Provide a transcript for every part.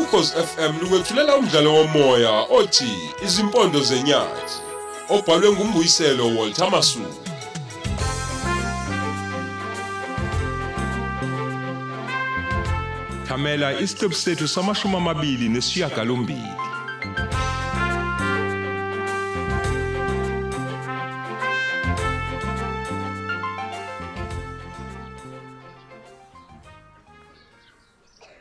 Ukhozi FM lukwethulela umdlalo womoya othi Izimpondo zenyathi obhalwe ngumbuyiselo Walter Masuku. Thamela isiqephu sethu samashumi amabili nesishiyagalombili.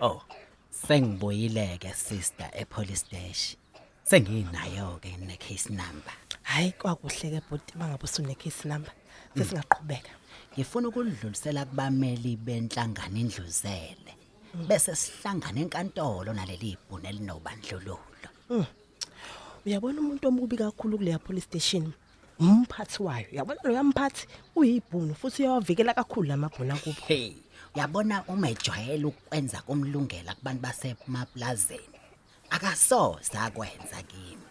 Oh, sengibuyile ke sister ePolice Station. Senginayo ke ne case number. hayi kwakuhle ke bhuti uma ngabe usunekhisi number sesingaqhubeka Ngifuna ukudlulisela kubameli benhlangano indluzele. Bese sihlangana enkantolo naleli bhunu elinobandlululo. uyabona umuntu omubi kakhulu kuleya police station umphathi wayo uyabona loya mphathi uyibhunu futhi uyawavikela kakhulu lamabhunu akubo Hey, yabona uma ejwayele ukwenza komlungela kubantu basemaplazeni. Akasoza kwenza kimi.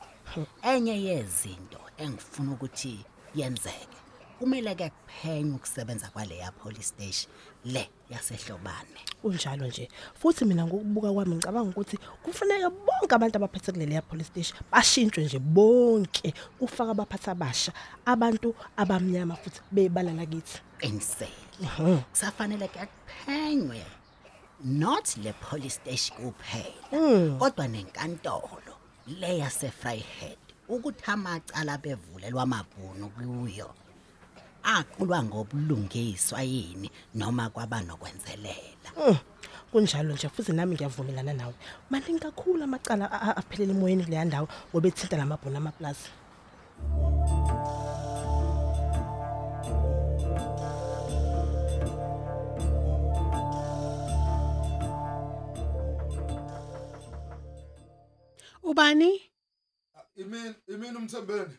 Enye yezinto engifuna ukuthi yenzeke. Kumele ke kuphenye ukusebenza kwaleya police station le yasehlobane. unjalo nje futhi mina ngokubuka kwami ngicabanga ukuthi kufanele bonke abantu abaphathe kuleya police station bashintshwe nje bonke kufaka abaphathi abasha abantu abamnyama futhi bebala lakithi Insele. Mhm. Kusafanele ke kuphenywe not le police station kuphela Hmm. Mm. kodwa nenkantolo le yase Fryhead ukuthi amacala bevulelwa amabhunu kuyo aqulwa ngobulungiswa yini noma kwaba nokwenzelela Mm, kunjalo nje futhi nami ngiyavumelana nawe maningi kakhulu amacala a- a- aphelela emoyeni kuleya ndawo webethinta lamabhunu amaplaza Ubani? Imini imini umthembeni.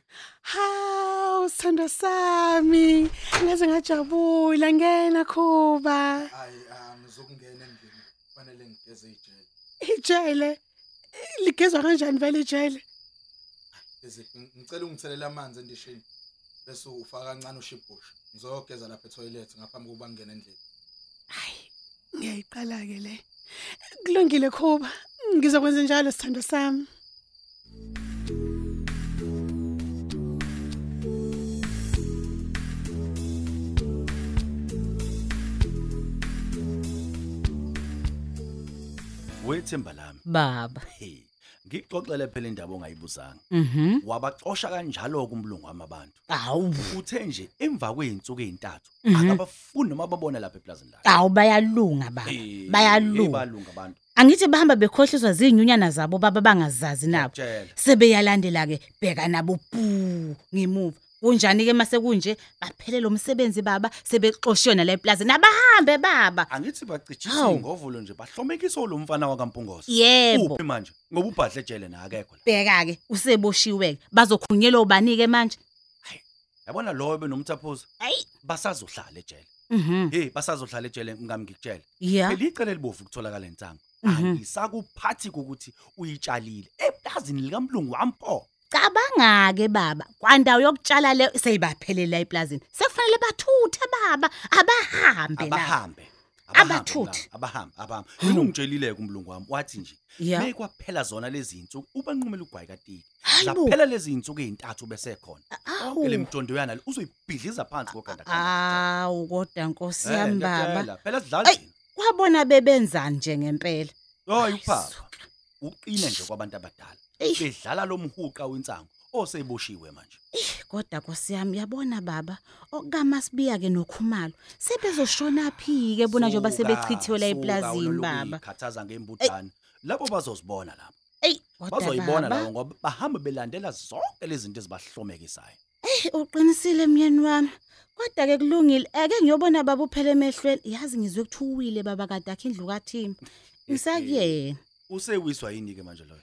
Haw, sithando sami. Ngaze ngajabula ngena khuba. Hayi angizokungena endlini. Kufanele ngigeze ijele. Ijele. Ligezwa kanjani vele ijele? Ngeze ngicela ungithelela amanzi endishini. Bese ufaka kancane ushibhusha. Ngizogeza lapha etoilet ngaphambi kokuba ngingene endlini. Hayi, ngiyayiqala ke le. Kulungile khuba. Ngizokwenza njalo sithando sami. wethemba lami Baba. hey ngixoxele phela indaba ongayibuzanga Mhm. wabaqosha kanjalo kumlungu wamabantu Awu. uthe nje emva kwey'nsuku ey'ntathu Mhm. akabafuni noma babona lapha eplazini lakhe Awu bayalunga baba. Hey, Bayalunga. balunga abantu Angithi bahamba bekhohliswa zinyunyana zabo baba bangazazi nabo. tshela Sebeyalandela ke bheka nabo pu ngemuva. Kunjani ke mase kunje baphelele umsebenzi baba sebexoshiwe nale plaza nabahambe baba. angithi bacijisa Hawu. ingovolo nje bahlomekisa lo mfana wakampungoso Yebo. uphi manje ngoba ubhadle ejele nakekho la Bheka ke useboshiwe bazokhunyelwa ubani ke manje? yabona lowo benomthaphuza Hayi. basazohlala ejele Mhm. hey basazohlala ejele ngami ngikutshele Yeah. phela icele libovu kutholakala intsango Mhm. angisakuphathi kokuthi uyitshalile eplazini likamlungu wampo Cabanga ke baba, kwandawo yokutshala le seyibaphelela eplazini. Sekufanele bathuthe baba, abahambe la. abahambe abahambe Abathuthi. Hmm. la, abahambe abahambe mina ungitshelileke umlungu wami wathi nje Yeah. mekwaphela zona lezi insuku ubanqumela ugwayi katiki Hayibo. zaphela lezi insuku ezintathu bese khona Awu. Yonke le mtondo yana le uzoyibhidliza phansi kokhanda Awu kodwa Nkosi Eh, yami baba. ngiyakutshela, phela Ayi. sidlalile Kwabona bebenzani nje ngempela. hayi uphapha uqine nje kwabantu abadala Eish. bedlala lo mhuqa wentsango oseboshiwe manje Kodwa Nkosi yami yabona baba, okama sibiya ke nokhumalo. Sebezoshona phi ke bona njengoba Suka, sebechithiwe la suka, eplazini unolokhu baba. uyikhathaza ngembuthano labo bazozibona lapho Ey, kodwa bazoyibona baba. lawo ngoba bahamba belandela zonke lezi zinto ezibahlomekisayo Eh, uqinisile myeni wami. Kodwa ke kulungile. Ake ngiyobona baba uphele emehlweni. Yazi ngizwe kuthuwile baba kadakhe indlu kaThimba. Ngisakuyena. usewiswa yini ke manje loyo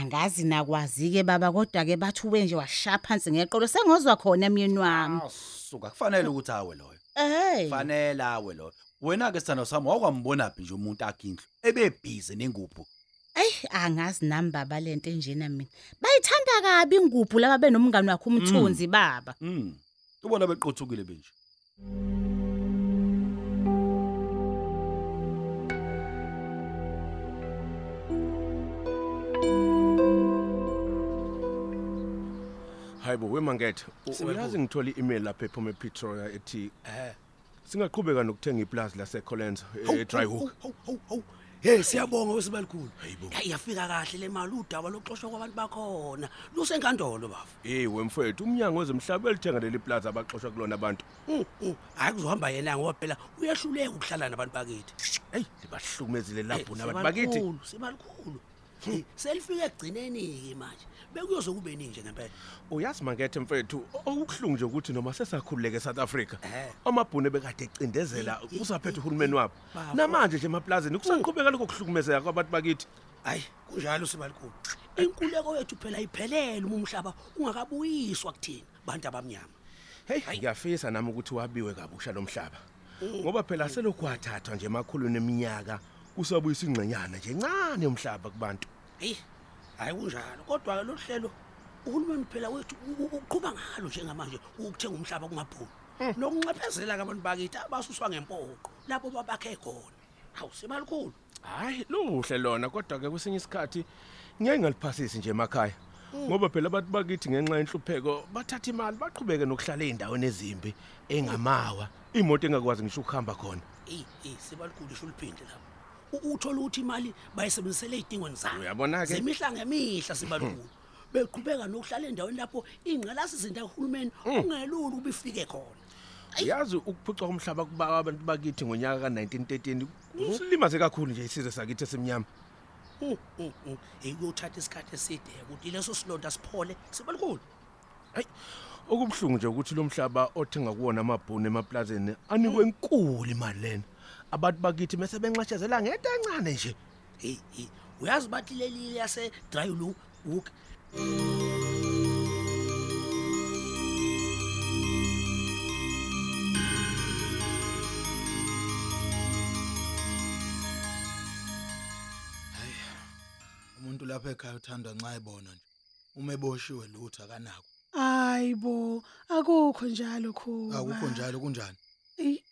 Angazi nakwazi ke baba kodwa ke bathuwe nje washaya phansi ngeqolo. Sengozwa khona myeni wami. suka kufanele ukuthi awe loyo Eh. kufanele awe loyo wena ke sithando sami wakwambona phi nje umuntu akindlu ebebhizi nengubhu Ey, angazi nami baba lento enjena mina. Bayithanda kabi ingubhu laba benomngani wakhe umthunzi baba. mm ubona beqothukile benje hayibo wemangethe u- Sibona. uyazi ngithole i-email lapha ephuma epretoria ethi Eh. singaqhubeka nokuthenga iplazi lasecolenso e-dry hook Hey siyabonga wesibalikhulu. Hayi yafika kahle le mali udaba loxoshwa kwabantu bakhona. Lusenkandolo bafu. eyi wemfowethu umnyango wezemhlaba elithenga leli plazi abaxoshwa kulona abantu Mm, mm. Hayi kuzohamba yena ngoba phela uyahluleka ukuhlala nabantu bakithi. eyi libahlukumezile Hey, lapho nabantu bakithi sibalikhulu, Sibalikhulu. Hey, Selifike egcineni ke manje. Bekuyozokubeni nje ngempela. uyazi makethe mfethu okubuhlungu nje ukuthi noma sesakhululeka e-south africa Eh. amabhunu ebekade ecindezela usaphethe uhulumeni wabo Bafo. Oh. namanje nje emapulazini kusaqhubeka lokho kuhlukumezeka kwabantu bakithi Hayi kunjalo sibalikhulu. Inkuleko yethu phela iphelele uma umhlaba ungakabuyiswa kuthina bantu abamnyama. heyi ngiyafisa nami ukuthi wabiwe kabusha lo mhlaba ngoba phela selokhu wathathwa nje emakhulwini eminyaka kusabuyisa ingxenyana nje encane yomhlaba kubantu Hey. Hayi kunjalo. Kodwa ke lo hlelo uhulumeni phela wethu u- u- uqhubha ngalo njengamanje ukuthenga umhlaba kumabhulu. Nokunxephezela ke abantu bakithi abasuswa ngempoqo lapho babakhe khona. Hawu simalikhulu. hhayi luhle lona kodwa-ke kwesinye isikhathi ngeke ngaliphasisi nje emakhaya ngoba phela abantu bakithi ngenxa yenhlupheko bathatha imali baqhubeke nokuhlala ey'ndaweni ezimbi engamawa iy'moto engakwazi ngisho ukuhamba khona Ey, ey simalikhulu shuluphinde lapho. U- Uthola ukuthi imali bayisebenzisele ezidingweni zayo. Uyabona-ke. Zemihla ngemihla simalikhulu. Beqhubeka nokuhlala endaweni lapho ingqalasizinda kahulumeni ungelulu kubifike khona. yazi ukuphucwa komhlaba kubawa abantu bakithi ngonyaka ka-1913 kusilimaze kakhulu nje isizwe sakithi esimnyama Mm, mm, mm. Hey kuyothatha isikhathi eside ukuthi leso silonda siphole simalikhulu. hayi okubuhlungu nje ukuthi lo mhlaba othenga kuwona amabhuni emapulazini anikwe enkulu imali lena abantu bakithi bese benxeshezela ngento encane nje hey hey uyazi bathi lelile yase dry lu- hook umuntu lapha ekhaya uthandwa nxa ebona nje uma eboshiwe lutho akanako Hayibo, akukho njalo khuba. akukho njalo kunjani Eyi,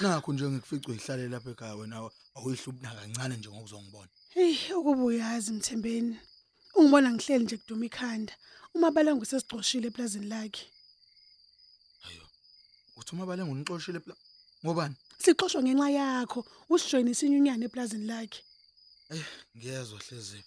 nakho nje ngikuficwe ihlale lapha ekhaya wena awuyihlubuna kancane nje ngokuzongibona Hey, ukubuyazi Mthembeni. Ungibona ngihleli nje kuduma ikhanda. Uma balangu sesigcoshile eplazini lakhe. uthi uma bale ngunixoshile pla ngobani Sixoshwe ngenxa yakho, usijoyine isinyunyane eplazini lakhe. Eh, ngiyezwa hleziphi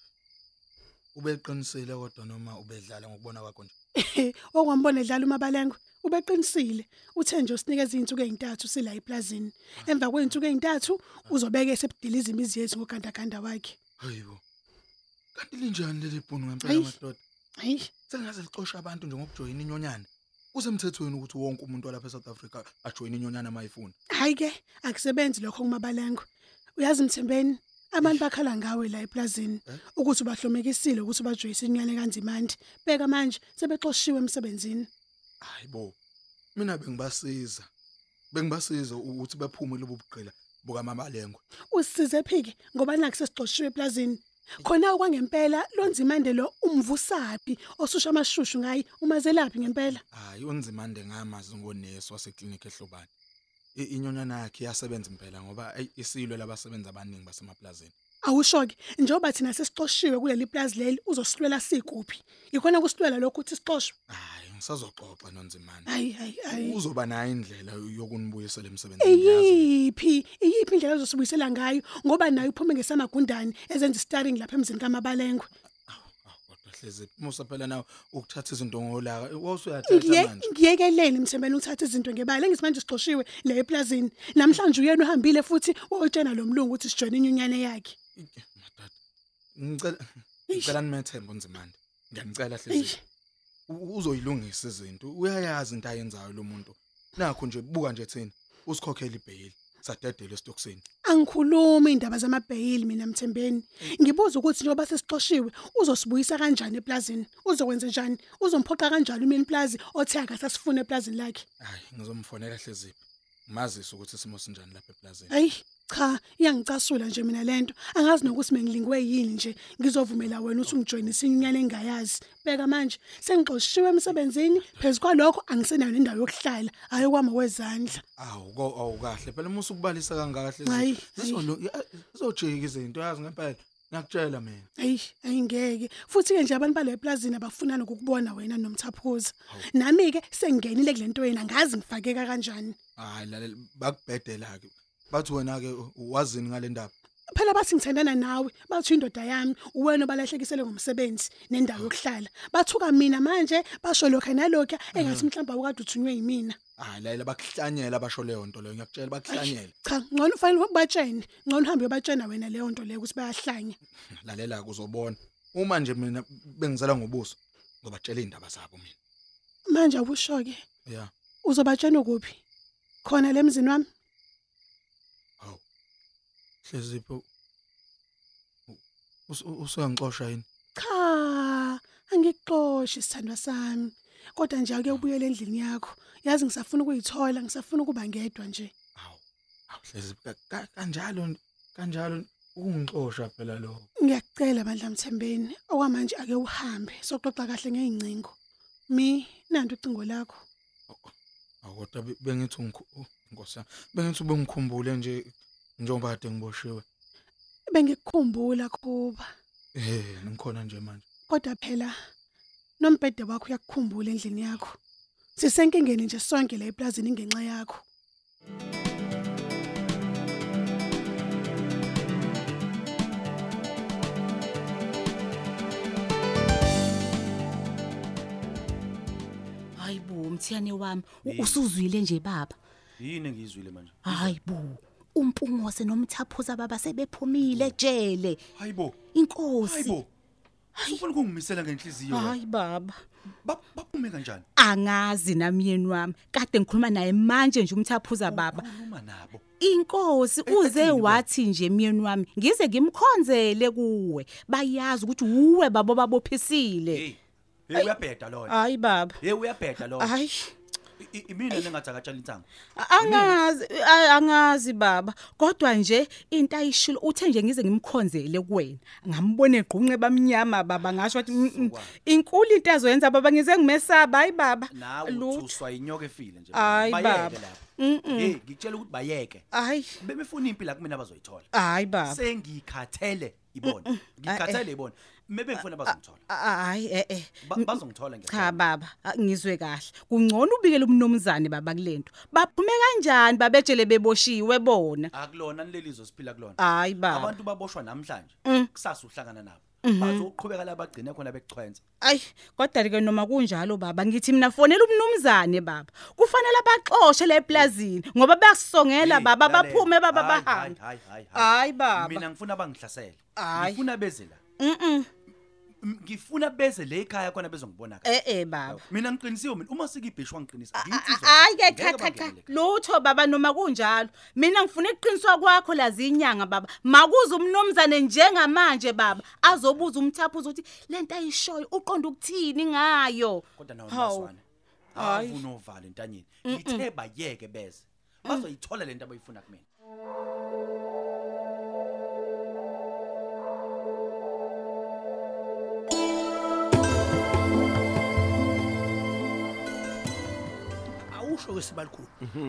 ubeqinisile kodwa noma ubedlala ngokubona kwakho nje Okwambona edlala umabalengo, ubeqinisile. Uthe nje usinikeza izinsuku ezintathu sila eplazini. Emva kwezinsuku ezintathu uzobeke sebudiliza imizi yethu ngogandaganda wakhe. hayibo kanti linjani leli bhunu ngempela Hayi. madoda Hayi, selingaze lixosha abantu nje ngokujoyina inyonyana kusemthethweni ukuthi wonke umuntu walapha e-south africa ajoyine inyonyana mayifuna hayi ke akusebenzi lokho kumabalengo. Uyazi Mthembeni, abantu bakhala ngawe la eplazini ukuthi ubahlomekisile ukuthi ubajoyise inyane kanzimandi. Beka manje sebexoshiwe emsebenzini. hayibo mina bengibasiza bengibasiza ukuthi baphume lobo bugqila bukamamalengo Usisize phiki ngoba nakho sesigxoshiwe eplazini. Khona okwangempela lonzimande lo umvusaphi osusha amashushu ngayi umazelaphi ngempela. hayi unzimande ngamazi ngonesi waseklinikhi ehlobane I- inyonyana yakhe iyasebenza impela ngoba eyi, isilwe labasebenzi abaningi basemaplazini Awusho ke njengoba thina sesixoshiwe kuleli plaza leli uzosilwela sikuphi. Ikhona kusilwela lokho ukuthi sixoshwe. hayi ngisazoxoxa nonzimande Hayi hayi hayi. uzoba nayo indlela yokunibuyisela emsebenzini ngiyazi. Eyiphi iyiphi indlela ozosibuyisela ngayo ngoba nayo uphume ngesamagundane ezenza istaring lapha emzini kaMabalengwe. Awu, kodwa hlezi musa phela nawe ukuthatha izinto ngolaka eh, wawusuyathatha Ngiye- manje Ngiyekelele mthembele uthathe izinto ngebala engisimanje sigxoshiwe la eplazini. Namhlanje uyena uhambile futhi wotshena lo mlungu ukuthi sijoyine inyunyane yakhe. Ike, madoda ngicela ngicela nimethembe unzimande ngiyanicela Eish. hlezi U- uzoyilungisa izinto uyayazi into ayenzayo lo muntu nakho nje buka nje thina usikhokhela ibheyili sadedela esitokisini Angikhulumi indaba zamabhayili mina Mthembeni. Ngibuza ukuthi njengoba sesixoshiwe uzosibuyisa kanjani eplazini? Uzokwenza njani? Uzomphoqa kanjani umini plazi othe akasasifuna eplazini lakhe? hayi ngizomfonela hleziphi ngimazise ukuthi isimo sinjani lapha eplazini Hayi cha, iyangicasula nje mina lento. Angazi nokuthi mengilingwe yini nje. Ngizovumela wena uthi ungijoyinise inyanya engayazi. Beka manje sengixoshiwe emsebenzini, phezukwa lokho angisenayo nendawo yokuhlala, hayi kwama wezandla. awu ko- awu kahle phela musu kubalisa kangaka Hayi, hleziphi hayi. izojika izinto yazi ngempela ngiyakutshela mina eyi ayingeke futhi-ke nje abantu bale plazini abafuna nokukubona wena nomthaphuza nami-ke sengingenile kule nto yena angazi ngifakeka kanjani hayi Ah, lalela bakubhedela ke bathi wena ke wazini ngale ndaba phela bathi ngithandana nawe batho indoda yami uwena obalahlekisele ngomsebenzi nendawo yokuhlala bathuka mina manje basho lokha nalokhuya engathi mhlawumbe awukade uthunywe yimina hayi Ah, lalela bakuhlanyela abasho leyo nto leyo ngiyakutshela bakuhlanyela cha ngcono ufanele ubatshene ngcono uhambe uyobatshena wena leyo nto leyo ukuthi bayahlanya lalela ke uzobona uma nje mina bengizala ngobuso ngobatshela indaba zabo mina manje akusho-ke ya uzobatshena kuphi khona le mzini wami hlezipho usuyangixosha yini cha angikuxoshi sithandwa sami kodwa nje ake ubuyele endlini yakho yazi ngisafuna ukuyithola ngisafuna ukuba ngedwa nje awu awu hlezipho ka- kanjalo nje- kanjalo nje ukungixosha phela lokho ngiyakucela bandla mthembeni okwamanje ake uhambe soxoxa kahle ngey'ncingo mi nanto ucingo lakho awu kodwa be- bengithi ungikhu- oh, nkosi yami bengithi ubengikhumbule nje njengoba kade ngiboshiwe bengikukhumbula khuba ehe Eh, ngikhona nje manje kodwa phela nombhede wakho uyakukhumbula endlini yakho sisenkingeni nje sonke la eplazini ngenxa yakho hayi bo mthiyane wami u- usuzwile nje baba yini engiyizwile manje hayi bo umpungose nomthaphuza baba Mm. sebephumile ejele hayibo inkosi hayibo usufuna kungimisela ngenhliziyo wena. hayi baba Ba- baphume kanjani angazi namyeni wami kade ngikhuluma naye manje nje umthaphuza baba khuluma nabo inkosi uze wathi nje myeni wami ngize ngimkhonzele kuwe bayazi ukuthi uwe babo babophisile hey hey uyabheda lona hayi baba hey uyabheda lona hayi I- imina nengathi akatshala intsango angazi a- angazi baba kodwa nje into ayishilo uthe nje ngize ngimkhonzele kuwena ngambona egqunqe bamnyama baba ngasho wathi "Mm, mm, inkulu into azoyenza baba ngize ngimesaba hayi baba nawe Lutho. uthuswa inyoka efile nje Hayi, bayeke baba. lapho Mm, hey ngikutshela ukuthi bayeke hayi bebefuna impilo kumina abazoyithola hayi baba sengikhathele ibona Eh, ngikhathele ibona Ah, mebengifuna bazongithola hayi eh eh Ba- bazongithola nge cha baba a- ngizwe kahle kungcono ubikele umnumzane baba kulento baphume kanjani babejele beboshiwe bona akulona nilelizo siphila kulona hayi baba Mm. Mm-hmm. abantu baboshwa namhlanje kusasa uhlangana nabo bazoqhubeka la bagcine khona bekuchwenza ayi kodwa ke noma kunjalo baba ngithi mina fonela umnumzane baba kufanele abaxoshe la eplazini ngoba bayasongela Hey, baba lalela. baphume baba Hayi, hayi, bahambe hayi, hayi, hayi. hayi baba mina ngifuna bangihlasele Hayi. ngifuna beze la mhm M- ngifuna beze le ekhaya khona bezongibona kahle. eh eh baba mina ngiqinisiwe mina uma sikibhishwa ngiqinisa hayi ke cha cha cha lutho baba noma kunjalo mina ngifuna iqiniswa kwakho la zinyanga baba makuza umnomzane njengamanje baba azobuza umthaphuza ukuthi lento ayishoyo uqonda ukuthini ngayo kodwa nawo Hawu. maswana Hayi. hayi unovalo entanyeni ngithe bayeke beze bazoyithola lento abayifuna kumina awusho kwesibalikhulu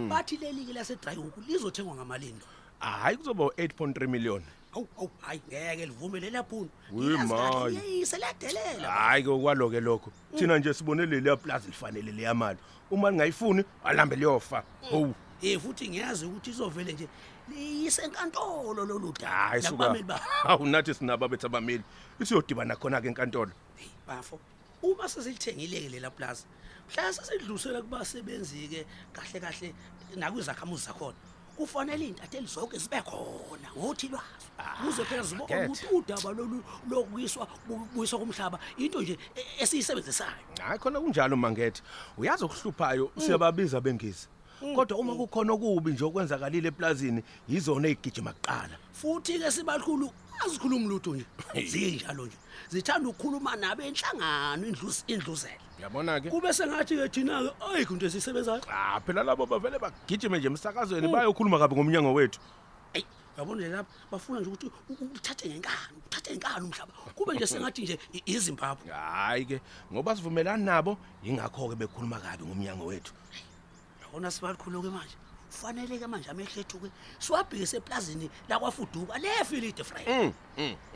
bathi leli-ke lasedryhook lizothengwa ngamalini hayi kuzoba u-8.3 million awu awu hayi ngeke livume lelaphuni We my. liyise liyadelela hayi-ke okwalo-ke lokho thina nje sibone leliya plazi lifanele leyamali uma lingayifuni alambe liyofa owu ye Eh, futhi ngiyazi ukuthi izovele nje liyise enkantolo lolu hayi suka hawu nathi sinabo abethu abameli isiyodibana khona-ke enkantolo bafo uma sesilithengile-ke lela plaza mhlala sesidlulisela kubasebenzi-ke kahle kahle nakwizakhamuzi zakhona kufanele iy'ntatheli zonke zibe khona ngothi lwazo Ah, kuze phela zibona get. ukuthi udaba lolu lokuyiswa kubuyiswa komhlaba into nje e- esiyisebenzisayo hayi khona kunjalo mangethe uyazi okuhluphayo siyababiza bengezi kodwa uma kukhona okubi nje okwenzakalile eplazini yizona ey'gijima kuqala futhi-ke sibakhulu azikhulumi lutho nje zinjalo nje zithanda ukukhuluma nabo enhlangano indluz- indluzela uyabona-ke kube sengathi-ke thina-ke ayikho into esiyisebenzayo ah phela labo bavele bagijime nje emsakazweni bayokhuluma kabi ngomnyango wethu eyi yabona nje lapha bafuna nje ukuthi u- u- uthathe ngenkani uthathe ngenkani umhlaba kube nje sengathi nje i- izimbabwe hhayi-ke ngoba sivumelani nabo yingakho-ke bekhuluma kabi ngomnyango wethu yabona sibalikhulu-ke manje kufanele-ke manje amehlo ethu-ke siwabhikise eplazini lakwafuduka lefilidi friend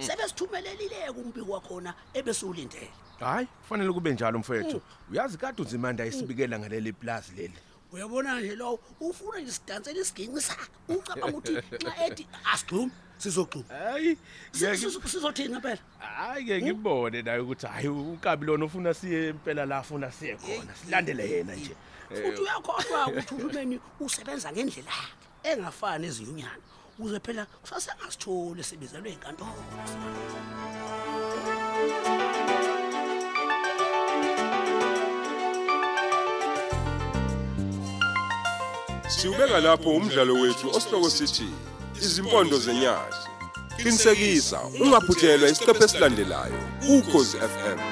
sebesithumelelile-ke umbiko wakhona ebesiwulindele hayi kufanele kube njalo mfowethu uyazi kade unzimanda isibikela ngaleli plazi leli uyabona nje lowo ufuna nje sidansele isiginci sakhe ucabanga ukuthi nxa ethi asigxumi sizogxuma hayi sizothini ngempela hayi-ke ngibone naye ukuthi hhayi unkabi lona ofuna siye impela la afuna siye khona Oh, silandele yena nje Eh, Eh, futhi uyakhohlwa ukuthi uhulumeni usebenza ngendlela yakhe engafani nezinyunyana uze phela kusasengasitholi esibizelwe inkantolo Siubeka lapho umdlalo wethu osihloko sithi izimpondo zenyati. Qinisekisa ungaphuthelwa isiqephu esilandelayo ukhozi FM.